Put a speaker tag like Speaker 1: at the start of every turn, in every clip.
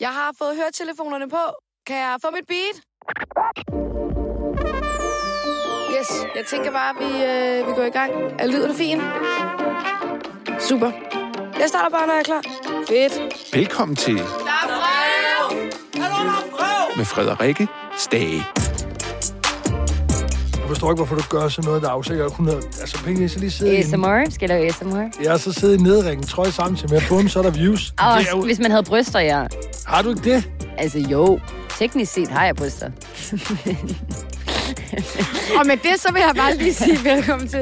Speaker 1: Jeg har fået høretelefonerne på. Kan jeg få mit beat? Yes, jeg tænker bare, at vi, øh, vi går i gang. Er lyden fin? Super. Jeg starter bare, når jeg er klar. Fedt.
Speaker 2: Velkommen til
Speaker 1: Der er brev!
Speaker 2: med Frederikke Stage.
Speaker 3: Jeg forstår ikke, hvorfor du gør sådan noget, der afsikker. Hun er, altså, penge, så lige sidde i en,
Speaker 4: ASMR? Skal jeg lave ASMR?
Speaker 3: jeg har så siddet i nedringen, trøje samtidig med, bum, så er der views.
Speaker 4: Og
Speaker 3: Det er jo-
Speaker 4: hvis man havde bryster, ja.
Speaker 3: Har du ikke det?
Speaker 4: Altså jo, teknisk set har jeg bryster.
Speaker 1: Og med det, så vil jeg bare lige sige velkommen til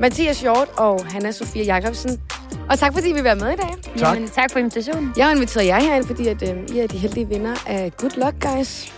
Speaker 1: Mathias Hjort og Hanna Sofia Jacobsen. Og tak, fordi vi vil være med i dag.
Speaker 3: Tak.
Speaker 4: Jamen, tak for invitationen.
Speaker 1: Jeg har inviteret jer herind, fordi at, øh, I er de heldige vinder af Good Luck, guys.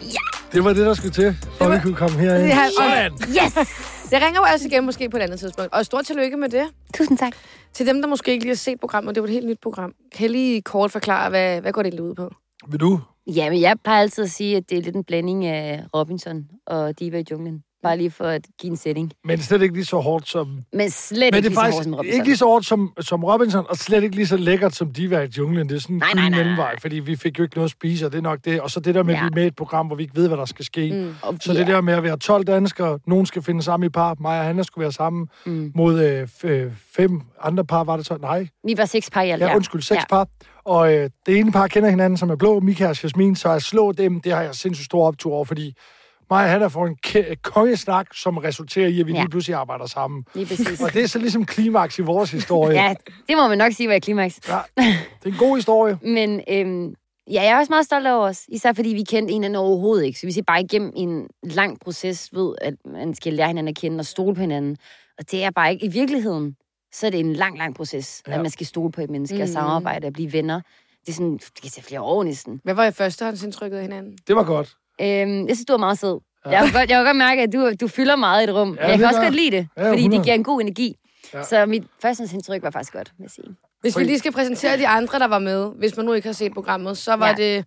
Speaker 3: Det var det, der skulle til, for at vi kunne komme herind.
Speaker 1: Det har-
Speaker 3: Sådan.
Speaker 4: Yes!
Speaker 1: Det ringer jo også igen måske på et andet tidspunkt. Og stort tillykke med det.
Speaker 4: Tusind tak.
Speaker 1: Til dem, der måske ikke lige har set programmet, det var et helt nyt program. Kan jeg lige kort forklare, hvad, hvad går det egentlig ud på?
Speaker 3: Vil du?
Speaker 4: Jamen, jeg plejer altid at sige, at det er lidt en blanding af Robinson og Diva i junglen. Bare lige for at give en sætning.
Speaker 3: Men slet ikke lige så hårdt som...
Speaker 4: Men slet
Speaker 3: Men det
Speaker 4: ikke
Speaker 3: er
Speaker 4: lige så hårdt
Speaker 3: faktisk
Speaker 4: som Robinson.
Speaker 3: ikke lige så hårdt som, som Robinson, og slet ikke lige så lækkert som de var i junglen. Det er sådan en
Speaker 4: Nej, nej,
Speaker 3: gyld
Speaker 4: nej, nej.
Speaker 3: mellemvej, fordi vi fik jo ikke noget at spise, og det er nok det. Og så det der med, at
Speaker 4: Ja.
Speaker 3: vi er med i et program, hvor vi ikke ved, hvad der skal ske.
Speaker 1: Mm.
Speaker 4: Og
Speaker 3: Så det der med at være 12 danskere, nogen skal finde sammen i par, mig og Hanna skulle være sammen
Speaker 4: Mm.
Speaker 3: mm. mod øh, f- øh, fem andre par, var det så? Nej,
Speaker 4: Vi var seks par i alt.
Speaker 3: ja, undskyld, seks ja. par. Og øh, det ene par kender hinanden, som er blå, Mika og Jasmin, så at slå dem, det har jeg sindssygt stor optur over, fordi mig og Hanna får en ke- kongesnak, som resulterer i, at vi
Speaker 4: Ja.
Speaker 3: ja. lige pludselig arbejder sammen.
Speaker 4: Lige præcis.
Speaker 3: Og det er så ligesom klimaks i vores historie.
Speaker 4: ja, det må man nok sige var et klimaks.
Speaker 3: ja. Det er en god historie.
Speaker 4: Men øhm, ja, jeg er også meget stolt over os. Især fordi vi kendte hinanden overhovedet ikke. Så vi ser bare igennem en lang proces ved, at man skal lære hinanden at kende og stole på hinanden. Og det er bare ikke i virkeligheden. Så er det en lang, lang proces, ja.
Speaker 3: Ja.
Speaker 4: at man skal stole på et menneske
Speaker 1: Mm.
Speaker 4: og samarbejde og blive venner. Det er sådan, det kan tage flere år næsten.
Speaker 1: Hvad var i førstehåndsindtrykket af hinanden?
Speaker 3: Det var godt.
Speaker 4: Øhm, jeg synes, du er meget sød. Ja.
Speaker 3: Ja.
Speaker 4: Jeg, kan godt, jeg kan godt mærke, at du, du fylder meget i et rum. Ja, jeg
Speaker 3: det
Speaker 4: kan også
Speaker 3: gør
Speaker 4: godt lide det,
Speaker 3: Ja,
Speaker 4: ja, fordi det
Speaker 3: 100.
Speaker 4: giver en god energi. Ja.
Speaker 3: Ja.
Speaker 4: Så mit førstehåndsindtryk var faktisk godt, vil jeg sige.
Speaker 1: Hvis vi lige skal præsentere de andre, der var med, hvis man nu ikke har set programmet, så var
Speaker 4: Ja.
Speaker 1: ja. det...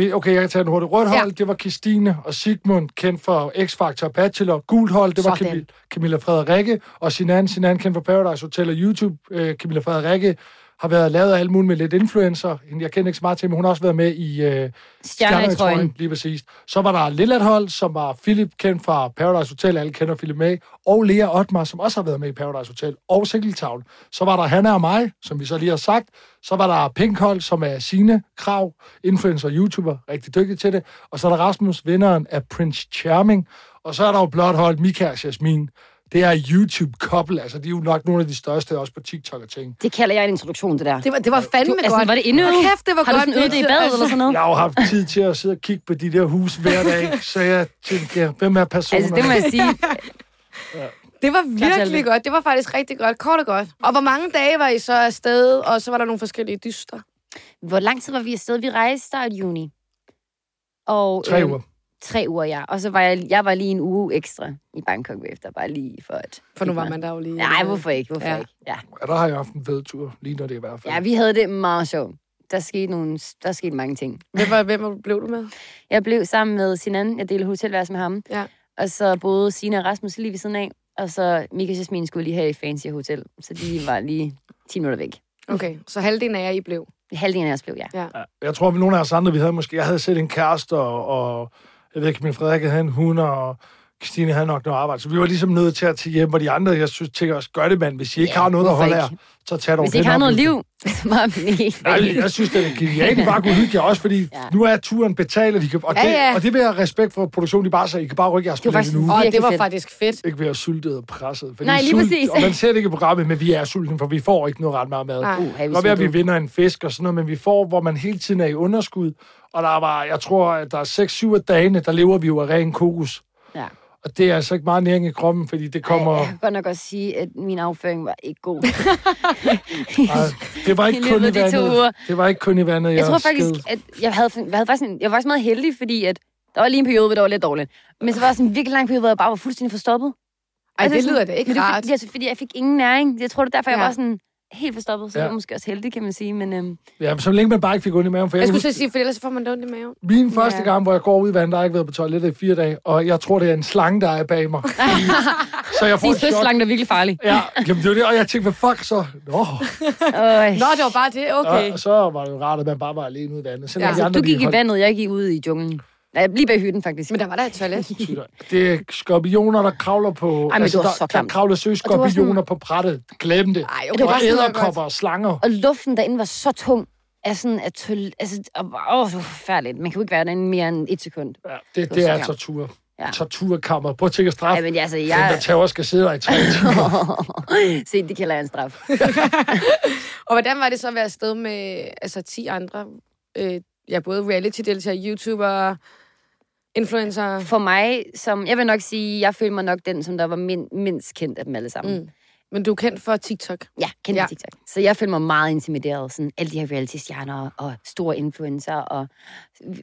Speaker 3: Fe- Okay, jeg kan tage en hurtig rødt hold.
Speaker 1: Ja.
Speaker 3: Ja. Det var Christine og Sigmund, kendt for X-Factor og Bachelor. Gult hold, det var
Speaker 1: Sådan.
Speaker 3: Camilla, Camilla Frederikke. Og Sinan, Sinan kendt for Paradise Hotel og YouTube. Øh, Camilla Frederikke har været lavet af alt muligt med lidt influencer. Hende- Jeg kender ikke så meget til, men hun har også været med i øh,
Speaker 4: Stjerner i trøjen.
Speaker 3: lige præcis. Så var der Lillet hold, som var Philip, kendt fra Paradise Hotel. Alle kender Philip med. Og Lea Otmar, som også har været med i Paradise Hotel. Og Sikkeltavl. Så var der Hanna og mig, som vi så lige har sagt. Så var der Pink hold, som er Sine Krav, influencer og YouTuber. Rigtig dygtig til det. Og så er der Rasmus, vinderen af Prince Charming. Og så er der jo blot hold Mika og Jasmin. Det er YouTube-couple, altså de er jo nok nogle af de største, også på TikTok og ting.
Speaker 4: Det kalder jeg en introduktion, det der.
Speaker 1: Det var, det var fandme
Speaker 4: Du- altså,
Speaker 1: godt.
Speaker 4: var det endnu-
Speaker 1: Hold kæft, det var
Speaker 4: har du
Speaker 1: godt.
Speaker 4: sådan øvet det i
Speaker 1: pitchet,
Speaker 4: badet eller sådan noget?
Speaker 3: Jeg har jo haft tid til at sidde og kigge på de der hus hver dag, så jeg tænkte, ja, hvem er personen?
Speaker 4: Altså, det må jeg sige.
Speaker 1: Det var
Speaker 4: Fortæl
Speaker 1: virkelig
Speaker 4: det.
Speaker 1: godt. Det var faktisk rigtig godt. Kort og godt. Og hvor mange dage var I så afsted, og så var der nogle forskellige dyster?
Speaker 4: Hvor lang tid var vi afsted? Vi rejste start juni. Og,
Speaker 3: Tre
Speaker 4: øhm,
Speaker 3: uger.
Speaker 4: Tre uger, ja. Og så var jeg, jeg var lige en uge ekstra i Bangkok efter, bare lige for at...
Speaker 1: For nu var man der jo lige...
Speaker 4: Nej, hvorfor ikke? Hvorfor
Speaker 1: Ja.
Speaker 4: ja. ikke? Ja.
Speaker 3: Mm. Ja, der har jeg haft en fed tur, lige når det er i hvert fald.
Speaker 4: ja, vi havde det meget sjovt. Der skete, nogle, der skete mange ting.
Speaker 1: Hvem, var, hvem blev du med?
Speaker 4: Jeg blev sammen med Sinan. Jeg delte hotelværelse med ham.
Speaker 1: Ja.
Speaker 4: Og så boede Sina og Rasmus lige ved siden af. Og så Mika og Jasmin skulle lige have et fancy hotel. Så de var lige 10 minutter væk.
Speaker 1: Okay, så halvdelen af jer, I blev.
Speaker 4: Halvdelen af os blev, ja.
Speaker 3: Jeg tror, at nogle af os andre, vi havde måske, jeg havde set en kæreste, og, og jeg ved ikke, min Frederik havde en hund, og Christine havde nok noget arbejde. Så vi var ligesom nødt til at tage hjem, og de andre, jeg synes, tænker også, gør det, mand. Hvis I ikke
Speaker 4: Ja,
Speaker 3: ja, har noget at
Speaker 4: hvorfor
Speaker 3: holde af,
Speaker 4: ikke?
Speaker 3: så tag dog
Speaker 4: Hvis I ikke
Speaker 3: den
Speaker 4: har noget
Speaker 3: oplevelse.
Speaker 4: liv, så var man ikke
Speaker 3: Nej, jeg synes, det er genialt. Bare kunne hygge jer også, fordi
Speaker 4: Ja.
Speaker 3: ja. nu er turen betalt, og, de kan, og, det,
Speaker 1: Ja, ja.
Speaker 3: og det vil jeg have respekt for produktionen. De bare sagde, I kan bare rykke jeres
Speaker 4: Det var
Speaker 3: billet
Speaker 4: faktisk
Speaker 3: nu.
Speaker 1: Og det
Speaker 4: Virkelig
Speaker 1: var
Speaker 4: fedt.
Speaker 1: faktisk fedt.
Speaker 3: Ikke være sultet og presset. For
Speaker 4: Nej,
Speaker 3: det er
Speaker 4: lige
Speaker 3: sult,
Speaker 4: præcis.
Speaker 3: Og man ser det ikke i programmet, men vi er sultne, for vi får ikke noget ret meget mad.
Speaker 1: Nej.
Speaker 4: Uh,
Speaker 3: Det kan godt være, at vi vinder en fisk og sådan noget, men vi får, hvor man hele tiden er i underskud. Og der var, jeg tror, at der er 6-7 af dagene, der lever vi jo af ren kokos.
Speaker 4: Ja.
Speaker 3: Og det er altså ikke meget næring i kroppen, fordi det kommer...
Speaker 4: Ej, jeg kan godt nok også sige, at min afføring var ikke god.
Speaker 3: Ej, det var
Speaker 4: I
Speaker 3: ikke
Speaker 4: løbet
Speaker 3: kun
Speaker 4: af
Speaker 3: i
Speaker 4: de to uger.
Speaker 3: vandet. Det var ikke kun i vandet, jeg,
Speaker 4: jeg tror
Speaker 3: sked.
Speaker 4: faktisk, at jeg havde, jeg havde faktisk en, jeg var faktisk meget heldig, fordi at der var lige en periode, hvor det var lidt dårligt. Men så var der sådan en virkelig lang periode, hvor jeg bare var fuldstændig forstoppet.
Speaker 1: Ej,
Speaker 4: Og
Speaker 1: det
Speaker 4: sådan-
Speaker 1: lyder da ikke
Speaker 4: men det altså, var
Speaker 1: rart.
Speaker 4: Fordi, altså, fordi jeg fik ingen næring. Jeg tror, det er derfor, ja.
Speaker 1: Ja.
Speaker 4: jeg var sådan... helt forstoppet, så ja.
Speaker 3: Ja.
Speaker 4: det var måske også heldig, kan man sige. Men øhm,
Speaker 3: Ja, så længe man bare ikke fik ondt i maven. For
Speaker 1: Jeg
Speaker 3: kan
Speaker 1: skulle
Speaker 3: huske-
Speaker 1: til at sige, for ellers så får man det ondt i maven.
Speaker 3: Min første
Speaker 4: Ja.
Speaker 3: ja. gang, hvor jeg går ud i vandet, der har jeg ikke været på toilettet i fire dage, og jeg tror, det er en slange, der er bag mig. så jeg
Speaker 4: det
Speaker 3: får
Speaker 4: er
Speaker 3: et chok.
Speaker 4: fødselslangen, der er virkelig farlig.
Speaker 3: Ja, jamen, det var det, og jeg tænkte, hvad fuck så? Nå.
Speaker 4: Øj.
Speaker 1: Nå, det var bare det. Okay.
Speaker 3: Okay. Og så var det jo rart, at man bare var alene ude i vandet. Selvom
Speaker 1: Ja.
Speaker 3: de Altså,
Speaker 4: Så
Speaker 3: andre,
Speaker 4: du
Speaker 3: de
Speaker 4: gik i
Speaker 3: holdt-
Speaker 4: vandet, jeg gik ude i junglen. Nej, lige bag hytten, faktisk.
Speaker 1: Men der var der et toilet.
Speaker 3: Det er skorpioner, der kravler på... altså,
Speaker 4: men det var så
Speaker 3: der, der
Speaker 4: klamt.
Speaker 3: kravler søskorpioner
Speaker 4: Og det var
Speaker 3: sådan... på brættet. Glem det.
Speaker 1: Ej, okay,
Speaker 3: Og
Speaker 1: det var sådan noget
Speaker 3: æderkopper og slanger.
Speaker 4: Og luften derinde var så tung. Af sådan, at tøl, altså, og, åh, det var forfærdeligt. Man kan jo ikke være derinde mere end et sekund.
Speaker 3: Ja, det,
Speaker 4: var
Speaker 3: det
Speaker 4: så
Speaker 3: er
Speaker 4: klamt.
Speaker 3: tortur.
Speaker 4: Ja.
Speaker 3: Ja. Torturkammer. Prøv at tænke straf.
Speaker 4: Ja, men altså,
Speaker 3: Den, der
Speaker 4: jeg...
Speaker 3: tager skal sidde der i tre timer.
Speaker 4: Se, det kalder jeg en straf.
Speaker 1: Og hvordan var det så at være afsted med altså, 10 andre? Øh, ja, både reality-deltagere, YouTubere, influencer.
Speaker 4: For mig, som... Jeg vil nok sige, jeg føler mig nok den, som der var min, mindst kendt af dem alle sammen. Mm.
Speaker 1: Mm. Men du er kendt for TikTok.
Speaker 4: Ja, kendt ja.
Speaker 1: Ja.
Speaker 4: TikTok. Så jeg føler mig meget intimideret. Sådan alle de her reality-stjerner og store influencer. Og,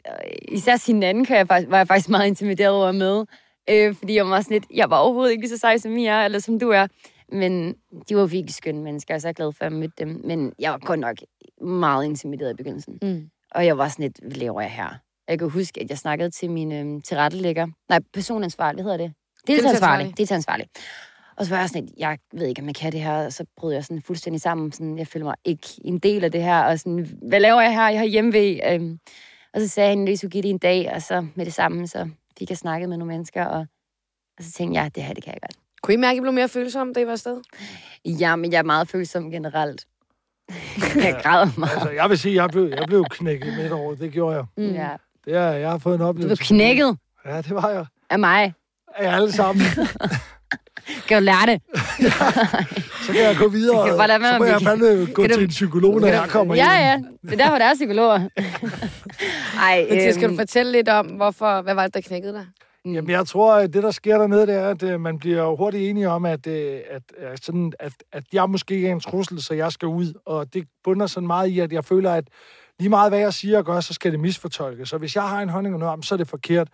Speaker 4: og især sin anden kan jeg, faktisk- var jeg faktisk meget intimideret over med. Øh, fordi jeg var sådan lidt, jeg var overhovedet ikke lige så sej, som I er, eller som du er. Men de var virkelig skønne mennesker, og jeg er så glad for, at jeg mødte dem. Men jeg var godt nok meget intimideret i begyndelsen.
Speaker 1: Mm.
Speaker 4: Og jeg var sådan lidt, hvad laver jeg her? Jeg kan huske, at jeg snakkede til min øhm, tilrettelægger. Nej, personansvarlig, hvad hedder det? Deltageransvarlig.
Speaker 1: Deltageransvarlig.
Speaker 4: Deltageransvarlig. Og så var jeg sådan lidt, jeg ved ikke, om jeg kan det her. Og så brød jeg sådan fuldstændig sammen. Sådan, jeg føler mig ikke en del af det her. Og sådan, hvad laver jeg her? Jeg har hjemmeved. Øhm, og så sagde han, at skulle give det en dag. Og så med det samme, så fik jeg snakket med nogle mennesker. Og, og så tænkte jeg, det her, det kan jeg godt.
Speaker 1: Kunne I mærke, at I blev mere følsomme, da I var afsted?
Speaker 4: Ja, men jeg er meget følsom generelt. jeg græder meget.
Speaker 3: altså, jeg vil sige, jeg blev, jeg blev knækket midt over. Det gjorde jeg.
Speaker 1: Mm.
Speaker 4: Ja.
Speaker 3: Det er, jeg har fået en
Speaker 4: Du blev
Speaker 3: oplevelse.
Speaker 4: knækket
Speaker 3: Ja, det var jeg.
Speaker 4: af mig.
Speaker 3: Af jer alle sammen.
Speaker 4: Kan du lære det?
Speaker 3: Så kan jeg gå videre.
Speaker 4: Kan du bare lade være
Speaker 3: så må
Speaker 4: med
Speaker 3: jeg
Speaker 4: at
Speaker 3: fandme gå
Speaker 4: Kan du-
Speaker 3: til en psykolog, når jeg kommer
Speaker 4: Ja,
Speaker 3: hjem.
Speaker 4: ja. Det er derfor, der er psykologer. Ej,
Speaker 1: Men øhm. skal du
Speaker 4: øhm,
Speaker 1: fortælle lidt om, hvorfor, hvad var det, der knækkede dig?
Speaker 3: Jamen, jeg tror, at det, der sker dernede, det er, at øh, man bliver jo hurtigt enige om, at, øh, at, øh, sådan, at, at jeg måske ikke er en trussel, så jeg skal ud. Og det bunder sådan meget i, at jeg føler, at lige meget, hvad jeg siger og gør, så skal det misfortolkes. Så hvis jeg har en holdning om noget, jamen, så er det forkert.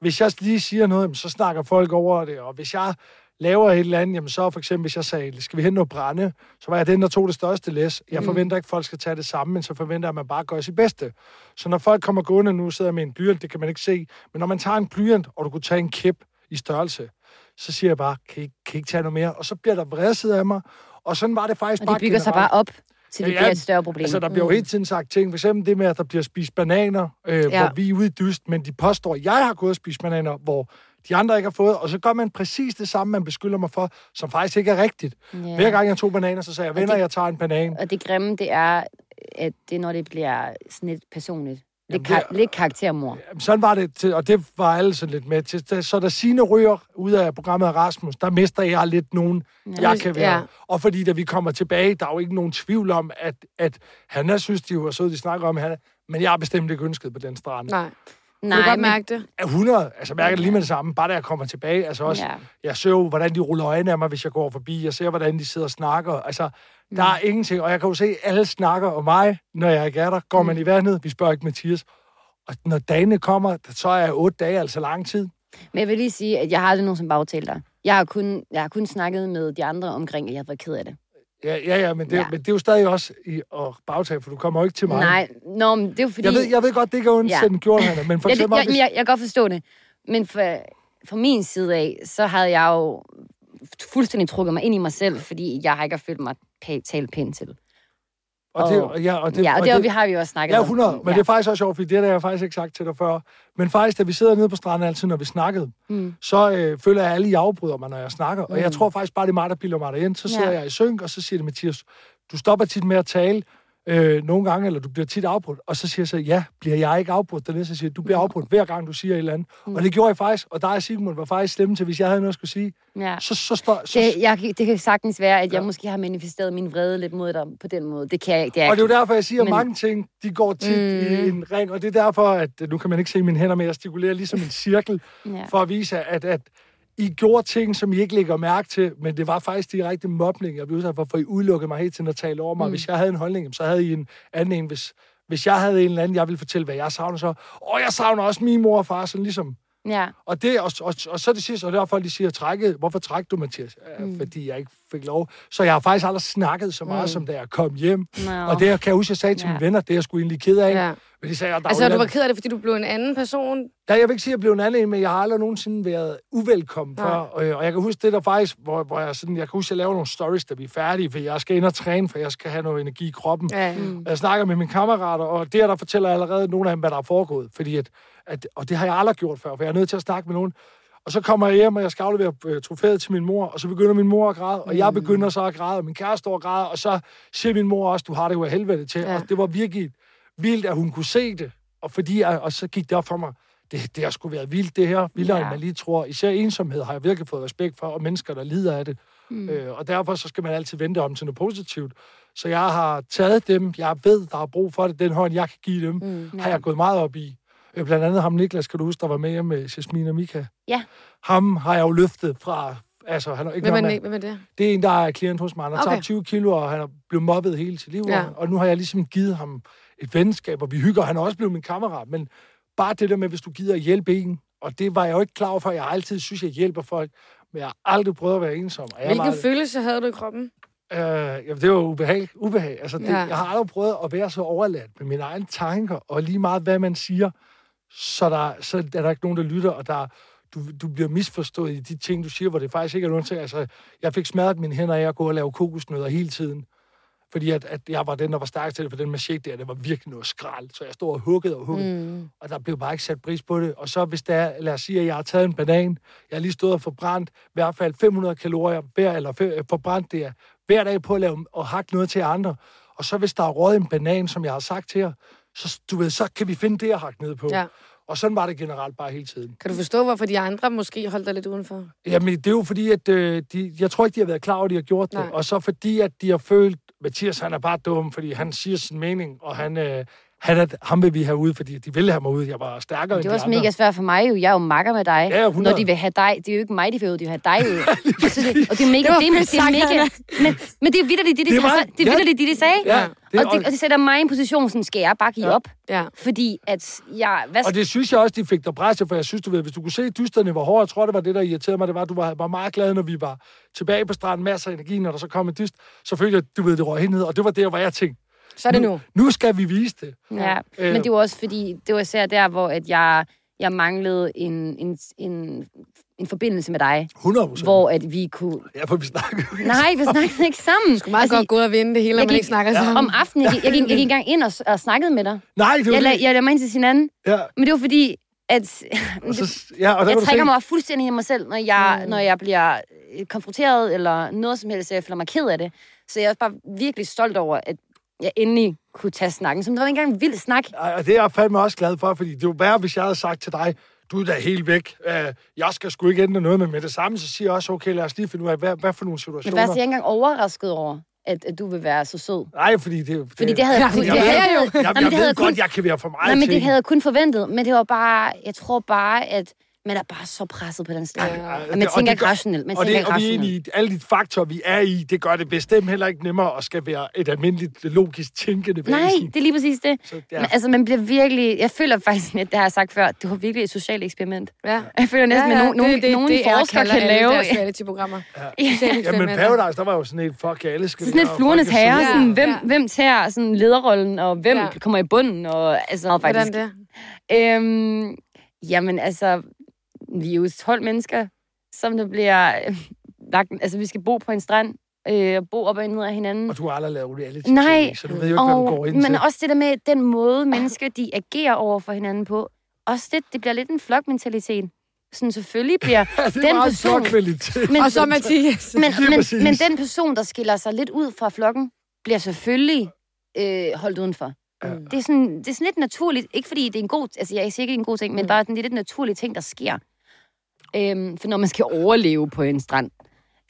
Speaker 3: Hvis jeg lige siger noget, jamen, så snakker folk over det. Og hvis jeg laver et eller andet, jamen så for eksempel, hvis jeg sagde, skal vi hente noget brænde, så var jeg den, der tog det største læs. Jeg forventer ikke, at folk skal tage det samme, men så forventer jeg, at man bare gør sit bedste. Så når folk kommer gående, nu sidder jeg med en blyant, det kan man ikke se, men når man tager en blyant, og du kunne tage en kæp i størrelse, så siger jeg bare, kan I, ikke- kan I ikke tage noget mere? Og så bliver der vredset af mig, og sådan var det faktisk
Speaker 4: og
Speaker 3: bare
Speaker 4: det bygger sig bare
Speaker 3: generelt.
Speaker 4: op, til det
Speaker 3: Ja,
Speaker 4: bliver et større problem.
Speaker 3: Altså, der bliver jo hele tiden sagt ting. For eksempel det med, at der bliver spist bananer, øh,
Speaker 1: Ja.
Speaker 3: ja. hvor vi er ude i dyst, men de påstår, at jeg har gået og spist bananer, hvor de andre ikke har fået. Og så gør man præcis det samme, man beskylder mig for, som faktisk ikke er rigtigt.
Speaker 4: Ja.
Speaker 3: Ja. Hver gang jeg tog bananer, så sagde jeg, venner,
Speaker 4: det-
Speaker 3: jeg tager en banan.
Speaker 4: Og det grimme, det er, at det er, når det bliver sådan lidt personligt. Lidt,
Speaker 3: Jamen,
Speaker 4: kar-
Speaker 3: det
Speaker 4: lidt karaktermor.
Speaker 3: Jamen, sådan var det, til, og det var alle sådan lidt med til. Da- Så da Signe ryger ud af programmet af Rasmus, der mister jeg lidt nogen, ja. jeg kan være.
Speaker 1: Ja.
Speaker 3: Ja. Og fordi da vi kommer tilbage, der er jo ikke nogen tvivl om, at, at Hanna synes, de var søde, de snakker om Hanna. Men jeg har bestemt ikke ønsket på den strand.
Speaker 1: Nej. Nej,
Speaker 4: Nej,
Speaker 1: du kan godt
Speaker 4: men-
Speaker 1: mærke det.
Speaker 3: er 100, altså mærker det lige med det samme, bare da jeg kommer tilbage. Altså også,
Speaker 4: Ja.
Speaker 3: ja. jeg ser jo, hvordan de ruller øjnene af mig, hvis jeg går forbi. Jeg ser, hvordan de sidder og snakker. Altså,
Speaker 4: Mm.
Speaker 3: der er ingenting. Og jeg kan jo se, at alle snakker om mig, når jeg ikke er der. Går
Speaker 4: Mm.
Speaker 3: man i vandet, vi spørger ikke Mathias. Og når dagene kommer, så er jeg otte dage, altså lang tid.
Speaker 4: Men jeg vil lige sige, at jeg har aldrig nogensinde bagtalt dig. Jeg har, kun, jeg har kun snakket med de andre omkring, at jeg har været ked af det.
Speaker 3: Ja, ja, ja, men det,
Speaker 4: Ja.
Speaker 3: ja. men det er jo stadig også i at bagtage, for du kommer jo ikke til mig.
Speaker 4: Nej, nå, men det er jo fordi...
Speaker 3: Jeg ved, jeg ved godt, det ikke er
Speaker 4: Ja.
Speaker 3: ondt, den gjorde han, men for
Speaker 4: ja, det,
Speaker 3: eksempel...
Speaker 4: jeg,
Speaker 3: hvis-
Speaker 4: jeg, jeg kan godt forstå det. Men fra, fra min side af, så havde jeg jo fuldstændig trukket mig ind i mig selv, fordi jeg har ikke følt mig pæ- talt pænt til.
Speaker 3: og det- og ja, og det-
Speaker 4: ja, og,
Speaker 3: og
Speaker 4: det,
Speaker 3: det-
Speaker 4: vi har vi jo også snakket
Speaker 3: Ja,
Speaker 4: om.
Speaker 3: 100. Men
Speaker 4: ja.
Speaker 3: det er faktisk også sjovt, fordi det har jeg faktisk ikke sagt til dig før. Men faktisk, da vi sidder nede på stranden altid, når vi snakkede,
Speaker 4: Mm.
Speaker 3: mm. så øh, føler jeg, at alle I afbryder mig, når jeg snakker. Mm. Og jeg tror faktisk bare, det er mig, der bilder mig derind. Så sidder
Speaker 4: Ja.
Speaker 3: ja. jeg i synk, og så siger det, Mathias, du stopper tit med at tale øh, nogle gange, eller du bliver tit afbrudt. Og så siger jeg så, ja, bliver jeg ikke afbrudt dernede? Så siger jeg, du
Speaker 4: Mm.
Speaker 3: bliver afbrudt hver gang, du siger et eller andet. Mm. Og det gjorde jeg faktisk. Og der er Sigmund var faktisk stemme til, hvis jeg havde noget at skulle sige.
Speaker 4: ja.
Speaker 3: Så, så, står, så,
Speaker 4: Det, jeg, det kan sagtens være, at jeg måske har manifesteret min vrede lidt mod dig på den måde. Det kan jeg ikke. Det er
Speaker 3: Og det er jo derfor, jeg siger, at
Speaker 4: Men-
Speaker 3: mange ting, de går tit mm. i en ring, og det er derfor, at nu kan man ikke se mine hænder, men jeg stikulerer ligesom en cirkel,
Speaker 4: Ja.
Speaker 3: ja. for at vise, at, at I gjorde ting, som I ikke lægger mærke til, men det var faktisk direkte mobning, jeg blev udsat for, for I udelukkede mig hele tiden at tale over mig. Mm. Hvis jeg havde en holdning, jamen, så havde I en anden en. Hvis, hvis jeg havde en eller anden, jeg ville fortælle, hvad jeg savner så. Og jeg savner også min mor og far, sådan ligesom,
Speaker 4: Ja.
Speaker 3: Og, det, og, og, og så det sidste, og det er folk, de siger, trække, hvorfor træk du, Mathias? Mm.
Speaker 4: Mm.
Speaker 3: Fordi jeg ikke fik lov. Så jeg har faktisk aldrig snakket så meget, mm.
Speaker 5: Mm.
Speaker 3: som da jeg kom hjem.
Speaker 4: No.
Speaker 3: Og det jeg kan jeg huske, jeg sagde til
Speaker 4: Ja.
Speaker 3: mine venner, det er jeg sgu egentlig ked af. Ja.
Speaker 5: Ja.
Speaker 3: Men de sagde, at der
Speaker 1: Altså,
Speaker 3: er jo
Speaker 1: du var
Speaker 3: land-
Speaker 1: ked af det, fordi du blev en anden person.
Speaker 3: Ja, jeg vil ikke sige, at jeg blev en anden en, men jeg har aldrig nogensinde været uvelkommen
Speaker 5: Nej.
Speaker 3: før. Og, og jeg kan huske det der faktisk, hvor, hvor jeg sådan, jeg kan huske, at jeg laver nogle stories, da vi er færdige, for jeg skal ind og træne, for jeg skal have noget energi i kroppen.
Speaker 5: Ja.
Speaker 1: Mm.
Speaker 3: Og Jeg snakker med mine kammerater, og det her, der fortæller jeg allerede nogle af dem, hvad der er foregået. Fordi at, at, og det har jeg aldrig gjort før, for jeg er nødt til at snakke med nogen. Og så kommer jeg hjem, og jeg skal aflevere øh, trofæet til min mor, og så begynder min mor at græde, og jeg begynder så at græde, og min kæreste står og græder, og så siger min mor også, du har det jo af helvede til. Ja.
Speaker 5: Ja.
Speaker 3: Og det var virkelig vildt, at hun kunne se det. Og, fordi, jeg- og så gik det op for mig, det, det har sgu været vildt, det her. Vildere, ja.
Speaker 4: Ja.
Speaker 3: end man lige tror. Især ensomhed har jeg virkelig fået respekt for, og mennesker, der lider af det. Mm. Øh, og derfor så skal man altid vente om til noget positivt. Så jeg har taget dem, jeg ved, der er brug for det, den hånd, jeg kan give dem, mm. har jeg gået meget op i. Øh, blandt andet ham Niklas, kan du huske, der var med hjemme med Jasmin og Mika.
Speaker 4: Ja.
Speaker 3: Ham har jeg jo løftet fra... Altså, han er ikke
Speaker 5: Hvem, er,
Speaker 3: noget
Speaker 5: den
Speaker 3: mand.
Speaker 1: e-
Speaker 5: ene- hvem er det?
Speaker 3: Det er en, der er klient hos mig. Han har okay.
Speaker 5: Okay.
Speaker 3: tabt 20 kilo, og han er blevet mobbet hele sit liv. Ja.
Speaker 5: Ja.
Speaker 3: Og nu har jeg ligesom givet ham et venskab, og vi hygger. Han er også blevet min kammerat. Men bare det der med, hvis du gider at hjælpe en, og det var jeg jo ikke klar over, for jeg har altid synes, jeg hjælper folk, men jeg har aldrig prøvet at være ensom. Og jeg
Speaker 1: Hvilken
Speaker 3: var,
Speaker 1: følelse havde du i kroppen?
Speaker 3: Øh, jamen, det var ubehag. ubehag. Altså, det, ja.
Speaker 5: Ja.
Speaker 3: Jeg har aldrig prøvet at være så overladt med mine egne tanker, og lige meget, hvad man siger, så, der, så er der ikke nogen, der lytter, og der, du, du bliver misforstået i de ting, du siger, hvor det faktisk ikke er nogen ting. Altså, jeg fik smadret mine hænder af at gå og lave kokosnødder hele tiden. Fordi at, at jeg var den, der var stærk til det, for den machete der, det var virkelig noget skrald. Så jeg stod og huggede og huggede, mm. og der blev bare ikke sat pris på det. Og så hvis der, lad os sige, at jeg har taget en banan, jeg har lige stået og forbrændt i hvert fald 500 kalorier hver, eller fe- øh, forbrændt det hver dag på at lave og hakke noget til andre. Og så hvis der er røget en banan, som jeg har sagt til jer, så, du ved, så kan vi finde det at hakke ned på.
Speaker 5: Ja.
Speaker 3: Og sådan var det generelt bare hele tiden.
Speaker 5: Kan du forstå, hvorfor de andre måske holdt dig lidt udenfor?
Speaker 3: Jamen, det er jo fordi, at øh, de, jeg tror ikke, de har været klar over, at de har gjort det. Nej.
Speaker 5: Nej.
Speaker 3: Og så fordi, at de har følt, Mathias, han er bare dum, fordi han siger sin mening, og han, øh, han er, ham vil vi have ud, fordi de ville have mig ud. Jeg var stærkere
Speaker 4: Det
Speaker 3: end
Speaker 4: er
Speaker 3: de
Speaker 4: også
Speaker 3: andre.
Speaker 4: mega svært for mig jo. Jeg er jo makker med dig.
Speaker 3: Ja, 100.
Speaker 4: når de vil have dig. Det er jo ikke mig, de vil ud, de vil have dig ud. Så det- og det er mega,
Speaker 5: Det var
Speaker 4: det, er-
Speaker 5: fedt
Speaker 4: det er
Speaker 5: sagt,
Speaker 4: mega.
Speaker 5: Anna.
Speaker 4: Men, men det er vidderligt, det, de,
Speaker 3: Det er
Speaker 4: altså,
Speaker 3: mig.
Speaker 4: det,
Speaker 3: Ja.
Speaker 4: er vidderligt, det de sagde.
Speaker 3: Ja, det,
Speaker 4: og, det, og det sætter mig i en position, sådan, skal jeg bare give
Speaker 3: Ja.
Speaker 4: op?
Speaker 5: Ja.
Speaker 4: Fordi at jeg... Hvad,
Speaker 3: Og det synes jeg også, de fik dig presset, for jeg synes, du ved, hvis du kunne se dysterne, hvor hårdt, jeg tror, det var det, der irriterede mig, det var, at du var, var meget glad, når vi var tilbage på stranden, masser af energi, når der så kom en dyst, så følte jeg, du ved, det røg helt ned, og det var der, hvor jeg tænkte,
Speaker 5: Så er det nu.
Speaker 3: nu skal vi vise det.
Speaker 4: Ja,
Speaker 3: Øh,
Speaker 4: øh, men det var også fordi, det var især der, hvor at jeg, jeg manglede en, en, en, en forbindelse med dig,
Speaker 3: 100 procent.
Speaker 4: hvor at vi kunne...
Speaker 3: Ja, for vi snakkede.
Speaker 4: Nej, vi snakkede ikke sammen.
Speaker 5: Du er meget altså, godt gået at vinde det hele,
Speaker 4: jeg
Speaker 5: når man
Speaker 4: gik-
Speaker 5: ikke snakker sammen.
Speaker 4: Om aftenen, jeg, gik- jeg, gik, jeg gik engang ind og, s- og snakkede med dig.
Speaker 3: Nej, det var
Speaker 4: Jeg,
Speaker 3: det.
Speaker 4: lag, jeg lagde mig ind til hinanden,
Speaker 3: Ja,
Speaker 4: men det var fordi, at
Speaker 3: og så, ja, og der
Speaker 4: jeg
Speaker 3: kan du se,
Speaker 4: trækker mig fuldstændig i mig selv, når jeg, mm. når jeg bliver øh, konfronteret eller noget som helst, så jeg føler mig ked af det. Så jeg er også bare virkelig stolt over, at jeg endelig kunne tage snakken, som det var ikke engang en vild snak.
Speaker 3: Ej, og det er jeg fandme også glad for, fordi det var værre, hvis jeg havde sagt til dig, du er da helt væk. Øh, jeg skal sgu ikke ændre noget, men med det samme, så siger jeg også, okay, lad os lige finde ud af, hvad, hvad for nogle
Speaker 4: Men
Speaker 3: situationer.
Speaker 4: faktisk er jeg ikke engang overrasket over, at, at du vil være så sød.
Speaker 3: Nej, fordi det...
Speaker 4: Fordi det havde jeg,
Speaker 5: Ja,
Speaker 4: kun-
Speaker 5: det
Speaker 4: det
Speaker 5: er
Speaker 4: havde
Speaker 5: jeg jo.
Speaker 4: Nej,
Speaker 3: Øh. Jeg,
Speaker 4: men
Speaker 3: jeg
Speaker 4: det havde
Speaker 3: ved
Speaker 4: jeg kun-
Speaker 3: godt, jeg kan være for meget
Speaker 4: Nej, men
Speaker 3: til.
Speaker 4: det havde jeg kun forventet. Men det var bare, jeg tror bare, at man er bare så presset på den sted.
Speaker 5: Ja.
Speaker 4: Og man
Speaker 3: Og
Speaker 4: tænker
Speaker 3: det gør-
Speaker 4: ikke rationelt. Man
Speaker 3: og
Speaker 4: tænker
Speaker 3: det,
Speaker 4: ikke
Speaker 3: og vi er
Speaker 4: rationelt.
Speaker 3: enige i, alle de faktorer, vi er i, det gør det bestemt heller ikke nemmere at skal være et almindeligt, logisk tænkende
Speaker 4: Nej,
Speaker 3: væsen.
Speaker 4: det er lige præcis det.
Speaker 3: Så, ja.
Speaker 4: Ja. Men, altså, man bliver virkelig... Jeg føler faktisk lidt, det har jeg sagt før, det var virkelig et socialt eksperiment.
Speaker 5: Ja.
Speaker 4: Jeg føler næsten, at nogen, nogen, nogen forskere kan lave...
Speaker 5: Det er det programmer.
Speaker 3: Jamen, Paradise, der var jo sådan et, fuck, alle skal
Speaker 4: Så sådan
Speaker 3: være,
Speaker 4: lidt
Speaker 3: og
Speaker 4: fluernes
Speaker 3: folk er
Speaker 4: herre,
Speaker 3: søde.
Speaker 5: søde.
Speaker 4: sådan,
Speaker 5: Ja,
Speaker 4: hvem,
Speaker 5: ja.
Speaker 4: hvem tager sådan lederrollen, og hvem
Speaker 5: Ja.
Speaker 4: kommer i bunden, og altså noget
Speaker 5: Hvordan
Speaker 4: faktisk.
Speaker 5: det?
Speaker 4: Øhm, jamen altså, vi er jo 12 mennesker, som der bliver øh, lagt... Altså, vi skal bo på en strand, øh, og bo op og ned af hinanden.
Speaker 3: Og du har aldrig lavet reality
Speaker 4: Nej,
Speaker 3: TV, så du ved jo ikke, hvad du går ind til.
Speaker 4: men også det der med den måde, mennesker de agerer over for hinanden på. Også det, det bliver lidt en flokmentalitet. Sådan selvfølgelig bliver...
Speaker 3: Ja, det er
Speaker 4: den
Speaker 3: meget
Speaker 4: person-
Speaker 3: flot kvalitet.
Speaker 4: Men,
Speaker 5: Og så Mathias.
Speaker 4: men,
Speaker 3: lige præcis.
Speaker 4: men, men den person, der skiller sig lidt ud fra flokken, bliver selvfølgelig øh, holdt udenfor.
Speaker 3: Ja.
Speaker 4: Ja. Det, er sådan, det er sådan lidt naturligt. Ikke fordi det er en god... Altså, jeg er sikkert en god ting,
Speaker 3: Mm.
Speaker 4: men bare sådan, det er lidt naturlige ting, der sker. Øhm, for når man skal overleve på en strand.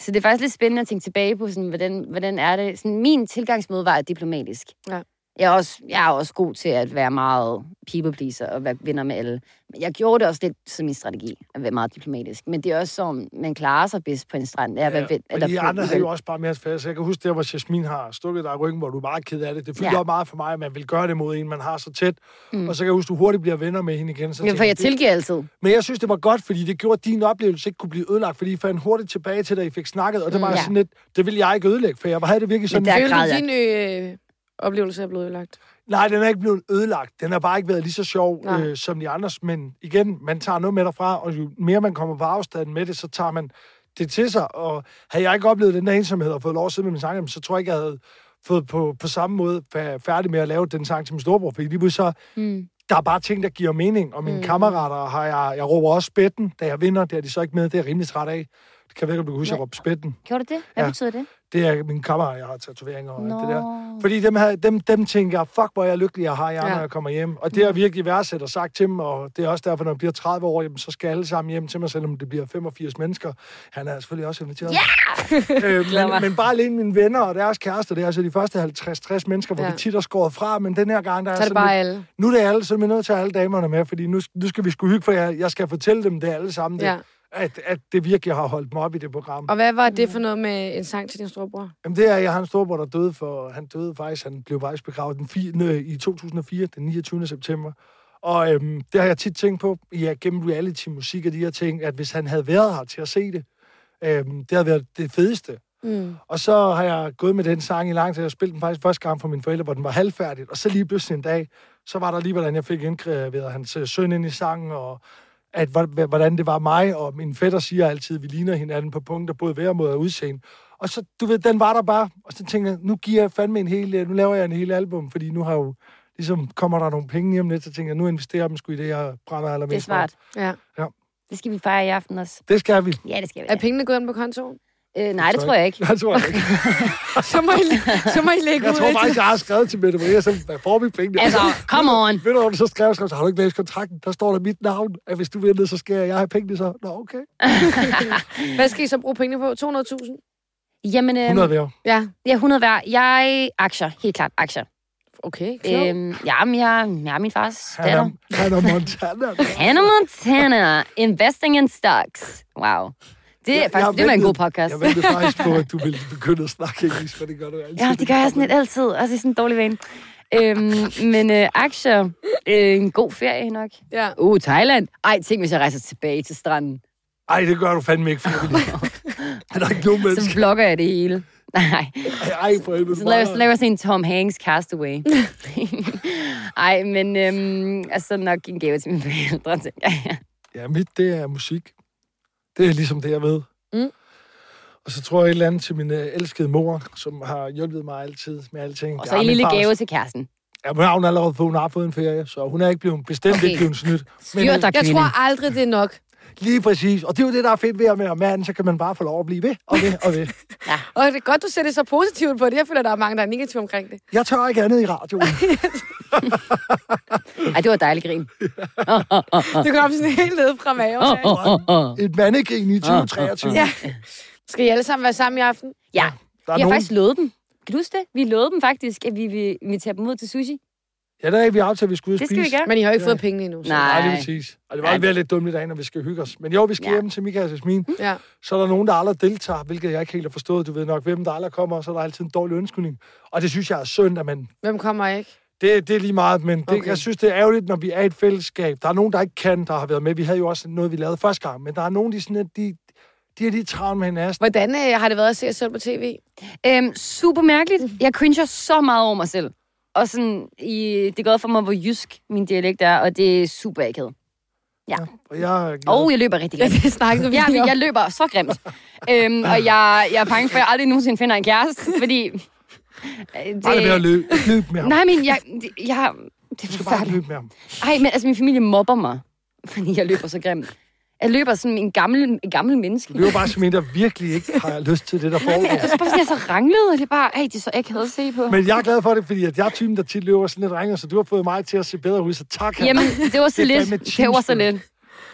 Speaker 4: Så det er faktisk lidt spændende at tænke tilbage på, sådan, hvordan, hvordan er det... Sådan, min tilgangsmåde var diplomatisk.
Speaker 5: Ja.
Speaker 4: Jeg er, også, jeg er også god til at være meget people pleaser og være venner med alle. Men jeg gjorde det også lidt som min strategi, at være meget diplomatisk. Men det er også som, man klarer sig bedst på en strand. Ja,
Speaker 3: Ja,
Speaker 4: hvad,
Speaker 3: og I andre havde jo også bare mere fast. Jeg kan huske der, hvor Jasmin har stukket dig i ryggen, hvor du er meget ked af det. Det fyldte
Speaker 4: Ja.
Speaker 3: ja. op meget for mig, at man vil gøre det mod en, man har så tæt. Mm. Og så kan jeg huske, du hurtigt bliver venner med hende igen. Så
Speaker 4: Ja,
Speaker 3: tænker
Speaker 4: for jeg
Speaker 3: det-
Speaker 4: tilgiver altid.
Speaker 3: Men jeg synes, det var godt, fordi det gjorde, at din oplevelse ikke kunne blive ødelagt, fordi I fandt hurtigt tilbage til, da I fik snakket, og det
Speaker 4: Mm,
Speaker 3: var
Speaker 4: ja.
Speaker 3: mm, sådan lidt, det ville jeg ikke ødelægge, for jeg havde det virkelig sådan,
Speaker 4: der-
Speaker 3: der...
Speaker 5: Føler
Speaker 4: græd
Speaker 5: du
Speaker 4: jeg.
Speaker 5: din øh, oplevelse er blevet ødelagt?
Speaker 3: nej, den er ikke blevet ødelagt, den har bare ikke været lige så sjov
Speaker 5: Nej.
Speaker 3: øh, som de andres, men igen, man tager noget med derfra, og jo mere man kommer på afstand med det, så tager man det til sig, og havde jeg ikke oplevet den der ensomhed og fået lov at sidde med min sang, jamen, så tror jeg ikke, jeg havde fået på, på samme måde fa- færdig med at lave den sang til min storebror, fordi lige pludselig så
Speaker 5: Mm.
Speaker 3: der er bare ting, der giver mening, og mine mm. kammerater har jeg, jeg råber også spætten, da jeg vinder, det er de så ikke med, det er jeg rimelig træt af. Det kan jeg ikke, om du kan huske, at jeg råbte spætten.
Speaker 4: Gjorde du det? Hvad
Speaker 3: Ja.
Speaker 4: betyder det?
Speaker 3: Det er mine kammerater, jeg har tatoveringer og alt det der.
Speaker 4: Nå.
Speaker 3: Fordi dem, havde, dem, dem tænker jeg, fuck, hvor er jeg lykkelig, jeg har jer,
Speaker 5: Ja. Mm.
Speaker 3: ja. når jeg kommer hjem. Og det har jeg virkelig værdsat og sagt til dem, og det er også derfor, når jeg bliver 30 år, jamen, så skal alle sammen hjem til mig, selvom det bliver 85 mennesker. Han er selvfølgelig også inviteret. Ja! øh,
Speaker 4: Glæder mig.
Speaker 3: men, men, bare alene mine venner og deres kærester, det er altså de første 50-60 mennesker, hvor
Speaker 5: Ja.
Speaker 3: ja. vi tit er skåret fra, men den her gang, der er
Speaker 5: Så er det
Speaker 3: sådan lidt-
Speaker 5: bare alle.
Speaker 3: nu er det alle, så er vi nødt til at have alle damerne med, fordi nu, nu skal vi sgu hygge, for jeg, jeg skal fortælle dem det alle sammen, det,
Speaker 5: Ja.
Speaker 3: ja. at, at det virkelig har holdt mig op i det program.
Speaker 5: Og hvad var det for noget med en sang til din storebror?
Speaker 3: Jamen, det er, jeg har en storbror, der døde for, han døde faktisk, han blev faktisk begravet den 4, i 2004, den 29. september. Og øhm, det har jeg tit tænkt på, ja, gennem reality-musik og de her ting, at hvis han havde været her til at se det, øhm, det havde været det fedeste.
Speaker 5: Mm.
Speaker 3: Og så har jeg gået med den sang i lang tid. Jeg spillede den faktisk første gang for mine forældre, hvor den var halvfærdig. Og så lige pludselig en dag, så var der lige, hvordan jeg fik indgraveret hans øh, søn ind i sangen, og at, hvor- hvordan det var mig, og min fætter siger altid, at vi ligner hinanden på punkter, både væremåde og udseende. Og så, du ved, den var der bare. Og så tænkte jeg, nu giver jeg fandme en hel, øh, nu laver jeg en hel album, fordi nu har jeg jo, ligesom kommer der nogle penge hjem lidt, så tænker jeg, nu investerer jeg dem sgu i det, jeg brænder allermest
Speaker 4: Det er
Speaker 3: for.
Speaker 4: smart.
Speaker 5: Ja.
Speaker 4: Det skal vi fejre i aften også.
Speaker 3: Det skal vi.
Speaker 4: Ja, det skal vi.
Speaker 5: Er
Speaker 4: da.
Speaker 5: pengene gået ind på kontoen?
Speaker 4: Øh, nej, det tror jeg ikke.
Speaker 3: Jeg tror, jeg, ikke.
Speaker 5: Så må I, så må I lægge
Speaker 3: jeg
Speaker 5: ud
Speaker 3: tror
Speaker 5: efter-
Speaker 3: faktisk, jeg har skrevet til Mette Maria, så hvad får vi pengene?
Speaker 4: Altså, come on.
Speaker 3: Ved du, hvad du så skrev, skrev, så har du ikke læst kontrakten? Der står der mit navn, at hvis du vil ned, så skal jeg, jeg have pengene så. Nå, okay.
Speaker 5: Hvad skal I så bruge pengene på? 200.000?
Speaker 4: Jamen, øh,
Speaker 3: 100 hver.
Speaker 5: Ja.
Speaker 4: ja, 100 hver. Jeg aktier, helt klart aktier.
Speaker 5: Okay, klog.
Speaker 4: Øhm, ja, men jeg, jeg er min fars
Speaker 3: Han er,
Speaker 4: datter.
Speaker 3: han er Montana. altså.
Speaker 4: Hannah Montana, Investing in Stocks. Wow. Det, er
Speaker 3: Jeg- jeg
Speaker 4: faktisk, det var en
Speaker 3: ventede-
Speaker 4: god podcast.
Speaker 3: Jeg ventede faktisk på, at du ville begynde at snakke engelsk, for det gør du altid.
Speaker 4: Ja, det gør jeg sådan lidt altid. Altså, det er sådan en dårlig vane. Øhm, men øh, aktier, øh, en god ferie nok.
Speaker 5: Ja.
Speaker 4: Uh, Thailand. Ej, tænk, hvis jeg rejser tilbage til stranden.
Speaker 3: Ej, det gør du fandme ikke, fordi er der ikke nogen
Speaker 4: Så
Speaker 3: mennesker.
Speaker 4: vlogger jeg det hele. Nej,
Speaker 3: Ej, for helvede.
Speaker 4: så
Speaker 3: du
Speaker 4: laver,
Speaker 3: bare-
Speaker 4: så laver jeg sådan en Tom Hanks castaway. Ej, men øhm, altså nok en gave til mine forældre, tænker jeg.
Speaker 3: Ja, mit, det er musik. Det er ligesom det, jeg ved.
Speaker 5: Mm.
Speaker 3: Og så tror jeg et eller andet til min øh, elskede mor, som har hjulpet mig altid med alting.
Speaker 4: Og
Speaker 3: Det
Speaker 4: så
Speaker 3: er
Speaker 4: en
Speaker 3: min
Speaker 4: lille
Speaker 3: fars- øh,
Speaker 4: gave til kæresten.
Speaker 3: Ja, hun har hun allerede fået, hun har fået en ferie, så hun er ikke blevet, bestemt
Speaker 4: Okay.
Speaker 3: okay. ikke blevet snydt. Men,
Speaker 4: Styr dig,
Speaker 5: Jeg
Speaker 4: kvinde.
Speaker 5: tror aldrig, det er nok.
Speaker 3: Lige præcis. Og det er jo det, der er fedt ved at være mand, så kan man bare få lov at blive ved og ved og ved.
Speaker 5: Og det er godt, du ser det så positivt på det. Jeg føler, der er mange, der er negative omkring det.
Speaker 3: Jeg tør ikke andet i radioen.
Speaker 4: Ej, det var dejlig grin.
Speaker 5: Det kom sådan helt ned fra maven.
Speaker 4: Åh, åh, åh, åh.
Speaker 3: Et mandekrig i 2023.
Speaker 5: Ja. Skal I alle sammen være sammen i aften?
Speaker 4: Ja,
Speaker 3: Der
Speaker 4: vi
Speaker 3: er
Speaker 4: har
Speaker 3: nogen...
Speaker 4: faktisk lovet dem. Kan du huske det? Vi lovede dem faktisk, at vi vil invitere dem ud til sushi.
Speaker 3: Ja, der er vi aftalte, at vi skulle ud
Speaker 4: Det
Speaker 3: og
Speaker 4: skal
Speaker 3: spise.
Speaker 4: vi gøre.
Speaker 5: Men I har jo ikke fået pengene endnu. Så.
Speaker 4: Nej.
Speaker 3: Nej, lige præcis. Og det var ved lidt dumt i dag, når vi skal hygge os. Men jo, vi skal
Speaker 4: Ja. Mm.
Speaker 3: ja. hjem til Michael og Jasmin.
Speaker 5: Ja.
Speaker 3: Så er der nogen, der aldrig deltager, hvilket jeg ikke helt har forstået. Du ved nok, hvem der aldrig kommer, og så er der altid en dårlig ønskning. Og det synes jeg er synd, at man
Speaker 5: Hvem kommer ikke?
Speaker 3: Det, det er lige meget, men det,
Speaker 5: Okay.
Speaker 3: okay. jeg synes, det er ærgerligt, når vi er i et fællesskab. Der er nogen, der ikke kan, der har været med. Vi havde jo også noget, vi lavede første gang, men der er nogen, de, sådan, lidt- de, de er lige travlt med hinanden.
Speaker 5: Hvordan øh, har det været at se jer selv på tv?
Speaker 4: Øhm, super mærkeligt. Jeg cringer så meget over mig selv. Og sådan, i, det går op for mig, hvor jysk min dialekt er, og det er super akavet.
Speaker 3: Og jeg er glad.
Speaker 4: Og jeg løber rigtig
Speaker 5: Ja,
Speaker 4: grimt.
Speaker 5: det snakkede vi
Speaker 4: Ja,
Speaker 5: lige om.
Speaker 4: jeg løber så grimt. øhm, og jeg, jeg er bange for, at jeg aldrig nogensinde finder en kæreste, fordi... øh,
Speaker 3: Bare lad være at løbe, løbe med ham.
Speaker 4: Nej, men jeg... det- jeg det
Speaker 3: Du
Speaker 4: er
Speaker 3: skal bare
Speaker 4: forfærdeligt.
Speaker 3: løbe med ham.
Speaker 4: Ej, men altså, min familie mobber mig, fordi jeg løber så grimt. Jeg løber som en gammel, en gammel menneske.
Speaker 3: Det er jo bare som en, der virkelig ikke har lyst til det, der
Speaker 4: Men
Speaker 3: foregår.
Speaker 4: altså, bare sådan, jeg så ranglede, og det er bare, ej, det er så akavet at se på.
Speaker 3: Men jeg er glad for det, fordi at jeg er typen, der tit løber sådan lidt ringer, så du har fået mig til at se bedre ud, så tak. Hanne.
Speaker 4: Jamen, det var så
Speaker 3: Det er
Speaker 4: lidt.
Speaker 3: fandme
Speaker 4: Det var så
Speaker 3: teamspil.
Speaker 4: lidt.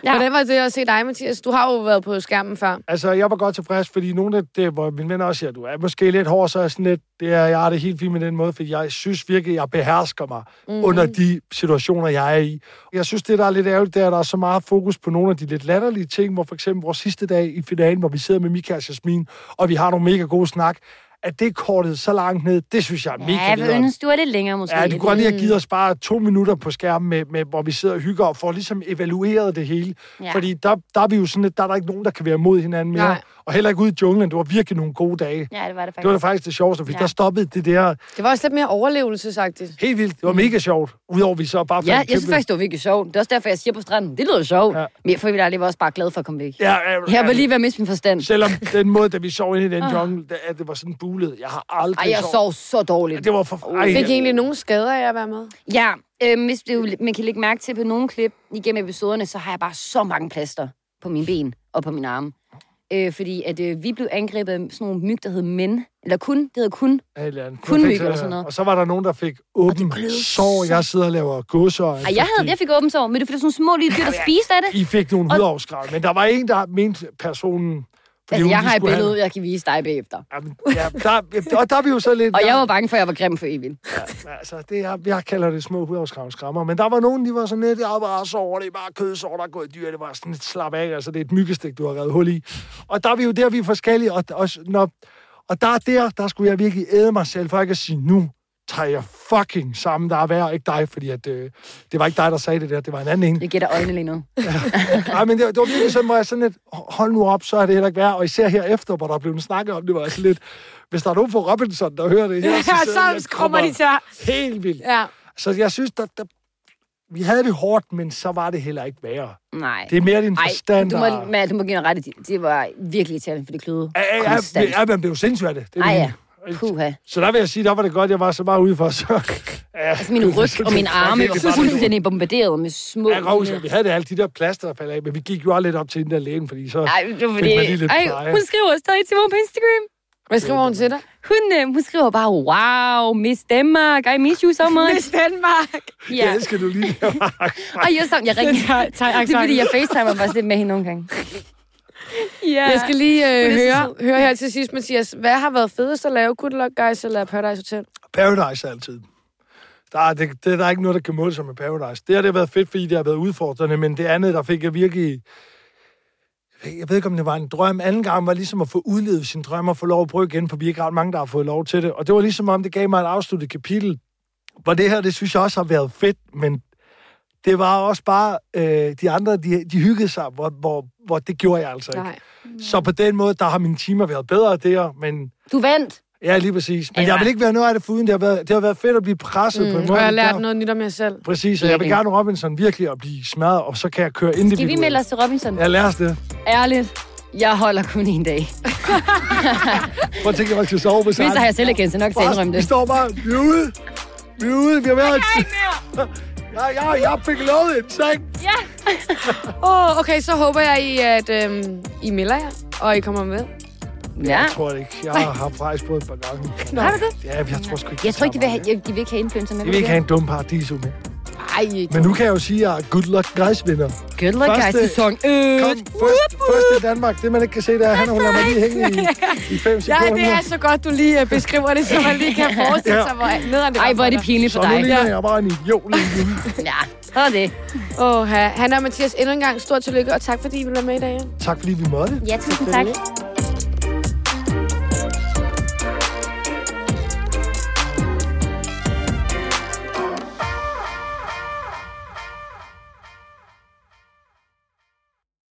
Speaker 4: Ja.
Speaker 5: Hvordan var det at se dig, Mathias? Du har jo været på skærmen før.
Speaker 3: Altså, jeg var godt tilfreds, fordi nogle af det, hvor mine venner også siger, du er måske lidt hård, så er jeg sådan lidt, det er, jeg har det helt fint med den måde, fordi jeg synes virkelig, jeg behersker mig
Speaker 4: Mhm.
Speaker 3: mm. under de situationer, jeg er i. Jeg synes, det, der er lidt ærgerligt, det er, at der er så meget fokus på nogle af de lidt latterlige ting, hvor for eksempel vores sidste dag i finalen, hvor vi sidder med Mika og Jasmin, og vi har nogle mega gode snak, at det er kortet så langt ned, det synes jeg er mega
Speaker 4: Ja, jeg vil
Speaker 3: nederen.
Speaker 4: ønske, du er lidt længere måske.
Speaker 3: Ja, du kunne godt lige have givet os bare to minutter på skærmen, med, med, hvor vi sidder og hygger og får ligesom evalueret det hele.
Speaker 4: Ja.
Speaker 3: Ja. Fordi der, der er vi jo sådan lidt, der er der ikke nogen, der kan være mod hinanden mere.
Speaker 5: Nej.
Speaker 3: Nej. Og heller ikke ude i junglen. Det var virkelig nogle gode dage.
Speaker 4: Ja, det var det faktisk.
Speaker 3: Det var da faktisk det sjoveste, fordi
Speaker 4: Ja.
Speaker 3: ja. der stoppede det der
Speaker 5: Det var også lidt mere overlevelsesagtigt.
Speaker 3: helt vildt. Det var mega sjovt. Udover vi så bare
Speaker 4: Ja,
Speaker 3: fandt
Speaker 4: jeg synes
Speaker 3: kæmpe-
Speaker 4: faktisk, det var virkelig sjovt. Det er også derfor, jeg siger på stranden, det lyder sjovt. Ja.
Speaker 3: Ja.
Speaker 4: Men for vil jeg var også bare glad for at komme væk. Ja.
Speaker 3: Ja, ja,
Speaker 4: Jeg var
Speaker 3: ja.
Speaker 4: lige ved at miste min forstand.
Speaker 3: Selvom den måde, da vi sov inde i den jungle, det, at det var sådan bulet. Jeg har aldrig
Speaker 4: Ej, jeg sov så dårligt.
Speaker 3: Det var for... Ej,
Speaker 5: Fik I egentlig nogen skader af at være med?
Speaker 4: Ja, øhm, hvis det, jo- man kan lægge mærke til på nogle klip igennem episoderne, så har jeg bare så mange plaster på mine ben og på mine arme. Øh, fordi at øh, vi blev angrebet af sådan nogle myg, der hed men. Eller kun, det hedder kun.
Speaker 3: Ja, et eller andet.
Speaker 4: Kun
Speaker 3: Jeg fik,
Speaker 4: myg eller
Speaker 3: øh,
Speaker 4: sådan noget.
Speaker 3: Og så var der nogen, der fik åben
Speaker 4: glød
Speaker 3: sår. Jeg sidder og laver gåsøjne.
Speaker 4: Ej, jeg, havde, jeg fik åbent sår, men det var fordi, der var sådan nogle små lille dyr, der spiste af det.
Speaker 3: I fik nogle
Speaker 4: Og-
Speaker 3: hudafskrab, men der var en, der mente personen... fordi
Speaker 4: Altså,
Speaker 3: hun
Speaker 4: jeg
Speaker 3: lige
Speaker 4: har et
Speaker 3: skulle
Speaker 4: billede, jeg kan vise dig bagefter.
Speaker 3: Have, jamen, ja, der, og der er vi jo så lidt...
Speaker 4: Og
Speaker 3: der,
Speaker 4: jeg var bange for, at jeg var grim for evigt.
Speaker 3: Altså, det er, jeg kalder det små hudafskrab skrammer, men der var nogen, de var sådan lidt, jeg bare så over det, er bare kødsår, der er gået dyr, det var sådan lidt slap af, altså det er et myggestik, du har revet hul i. Og der er vi jo der, vi er forskellige, og, og, når, og der er der, der skulle jeg virkelig æde mig selv, for ikke at sige, nu tager jeg fucking sammen, der er værd, ikke dig, fordi at, øh, det var ikke dig, der sagde det der, det var en anden en.
Speaker 4: Jeg gætter øjnene lige nu.
Speaker 3: Nej, men det, det var virkelig sådan, hvor jeg sådan lidt, hold nu op, så er det heller ikke værd. Og især herefter, hvor der blev en snak om det, var jeg sådan lidt, hvis der er nogen fra Robinson, der hører det her,
Speaker 5: Ja,
Speaker 3: sidder
Speaker 5: så
Speaker 3: jeg
Speaker 5: skrummer de tør.
Speaker 3: Helt vildt.
Speaker 5: Ja.
Speaker 3: Så jeg synes, der, der, vi havde det hårdt, men så var det heller ikke værre.
Speaker 4: Nej.
Speaker 3: Det er mere din forstand,
Speaker 4: du
Speaker 3: der...
Speaker 4: må, Mal, du må give mig ret. i Det Det var virkelig irriterende, for det kløede
Speaker 3: Ja, ja, ja,
Speaker 4: konstant.
Speaker 3: ja, man blev sindssyg af det. det er
Speaker 4: Ej,
Speaker 3: min-
Speaker 4: ja. Puha.
Speaker 3: Så der vil jeg sige, der var det godt, jeg var så meget ude for. Så, ja,
Speaker 4: Altså, min ryg og min arme
Speaker 3: ikke
Speaker 4: var
Speaker 3: bare-
Speaker 4: fuldstændig bombarderet med små...
Speaker 3: jeg kan huske, at vi havde det, alle de der plaster, der faldt af, men vi gik jo aldrig lidt op til den der lægen, fordi så...
Speaker 4: Ej, det var
Speaker 3: fik
Speaker 4: fordi...
Speaker 3: man lige lidt
Speaker 4: Ej,
Speaker 3: pleje.
Speaker 4: hun skriver stadig til mig på Instagram.
Speaker 5: Hvad skriver hun til dig?
Speaker 4: Hun, øh, hun skriver bare, wow, Miss Denmark, I miss you so much.
Speaker 5: Danmark.
Speaker 4: Ja.
Speaker 3: Jeg elsker du lige det.
Speaker 4: Og jeg sammen, jeg ringer. Det er fordi, jeg facetimer faktisk lidt med hende nogle gange. Ja.
Speaker 5: Jeg skal lige
Speaker 4: det
Speaker 5: øh,
Speaker 4: er så
Speaker 5: høre, høre her til sidst, Mathias. Hvad har været fedest at lave? Good Luck Guys eller Paradise Hotel?
Speaker 3: Paradise altid. Der er, det, det, der er ikke noget, der kan måle sig med Paradise. Det har det været fedt, fordi det har været udfordrende, men det andet, der fik jeg virkelig... Jeg ved- Jeg ved ikke, om det var en drøm. Anden gang var ligesom at få udlevet sin drøm og få lov at prøve igen, for vi er ikke ret mange, der har fået lov til det. Og det var ligesom om, det gav mig et afsluttet kapitel, hvor det her, det synes jeg også har været fedt, men det var også bare, øh, de andre, de, de hyggede sig, hvor, hvor, hvor det gjorde jeg altså ikke.
Speaker 5: Nej.
Speaker 3: Så på den måde, der har mine timer været bedre der, men
Speaker 4: Du vandt.
Speaker 3: Ja, lige præcis. Men
Speaker 4: Eller-
Speaker 3: jeg vil ikke være noget af det foruden. Det har været, det har været fedt at blive presset mm, på en
Speaker 5: Mm,
Speaker 3: måde.
Speaker 5: og jeg har lært
Speaker 3: der-
Speaker 5: noget nyt om jer selv.
Speaker 3: Præcis, og jeg vil
Speaker 4: Ja, det-
Speaker 3: gerne Robinson virkelig at blive smadret, og så kan jeg køre
Speaker 4: Skal
Speaker 3: individuelt.
Speaker 4: vi melde os til Robinson?
Speaker 3: Ja, lad os det.
Speaker 4: Ærligt. Jeg holder kun en dag.
Speaker 3: Prøv at tænke, at jeg skal sove på
Speaker 4: Hvis har jeg selv erkendt, så nok til at indrømme
Speaker 3: Vi
Speaker 4: det.
Speaker 3: står bare, vi er ude. Vi er ude, vi har været... Ja, ja, jeg fik lovet en seng.
Speaker 5: Åh, oh, okay, så håber jeg, I, at øhm, I melder jer, og I kommer med.
Speaker 4: Ja.
Speaker 3: Jeg tror det ikke. Jeg har faktisk prøvet et par gange.
Speaker 4: Har du det?
Speaker 3: Ja, jeg tror sgu ikke.
Speaker 4: Jeg tror ikke, de vil have,
Speaker 3: Jeg
Speaker 4: de vil ikke have influencer med.
Speaker 3: vil ikke have en dum paradiso med.
Speaker 5: Ej,
Speaker 3: Men nu kan jeg jo sige, at jeg er good luck guys vinder.
Speaker 4: Good luck, guys.
Speaker 3: Første-
Speaker 4: Sæson 8.
Speaker 3: Kom, først, først i Danmark. Det, man ikke kan se, det er, at han og hun lader mig lige hænge i, i fem
Speaker 5: ja,
Speaker 3: sekunder.
Speaker 5: det er så godt, du lige øh, beskriver det, så man lige kan forestille sig, hvor nederen det
Speaker 4: Ej, hvor er det pinligt for
Speaker 3: Så nu
Speaker 4: dig.
Speaker 3: ligner jeg bare en idiot lige nu.
Speaker 4: Ja, så er det.
Speaker 5: Åh, oh, han og Mathias, endnu en gang stor tillykke, og tak fordi I ville være med i dag.
Speaker 3: Tak fordi vi måtte.
Speaker 4: Ja, tusind tak.